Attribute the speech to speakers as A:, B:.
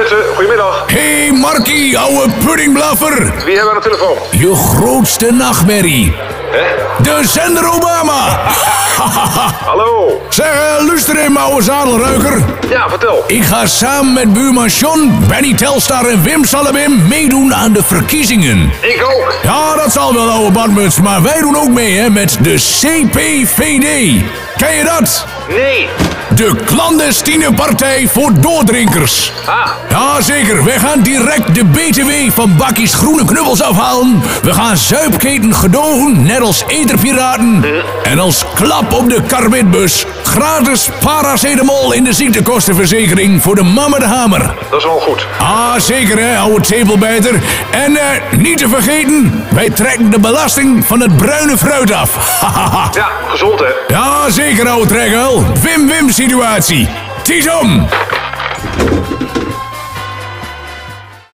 A: Mensen, goedemiddag.
B: Hey Markie, ouwe puddingblaffer.
A: Wie hebben we aan de telefoon?
B: Je grootste nachtmerrie.
A: Hè?
B: De zender Obama.
A: Hallo?
B: zeg, eh, luister in, ouwe zadelruiker.
A: Ja, vertel.
B: Ik ga samen met buurman John, Benny Telstar en Wim Salabim meedoen aan de verkiezingen.
A: Ik ook.
B: Ja, dat zal wel, ouwe badmuts. Maar wij doen ook mee, hè, met de CPVD. Ken je dat?
A: Nee.
B: De clandestine partij voor doordrinkers.
A: Ah,
B: Jazeker, wij gaan direct de BTW van bakkies groene knubbels afhalen. We gaan zuipketen gedogen, net als eterpiraten. En als klap op de karwitbus, gratis paracetamol in de ziektekostenverzekering voor de man met de hamer.
A: dat is wel goed.
B: Ah, zeker hè, oude tepelbijter. En eh, niet te vergeten, wij trekken de belasting van het bruine fruit af. Hahaha.
A: Ja, gezond hè?
B: ja, zeker oude trekkel. Wim-wim situatie. Tietom!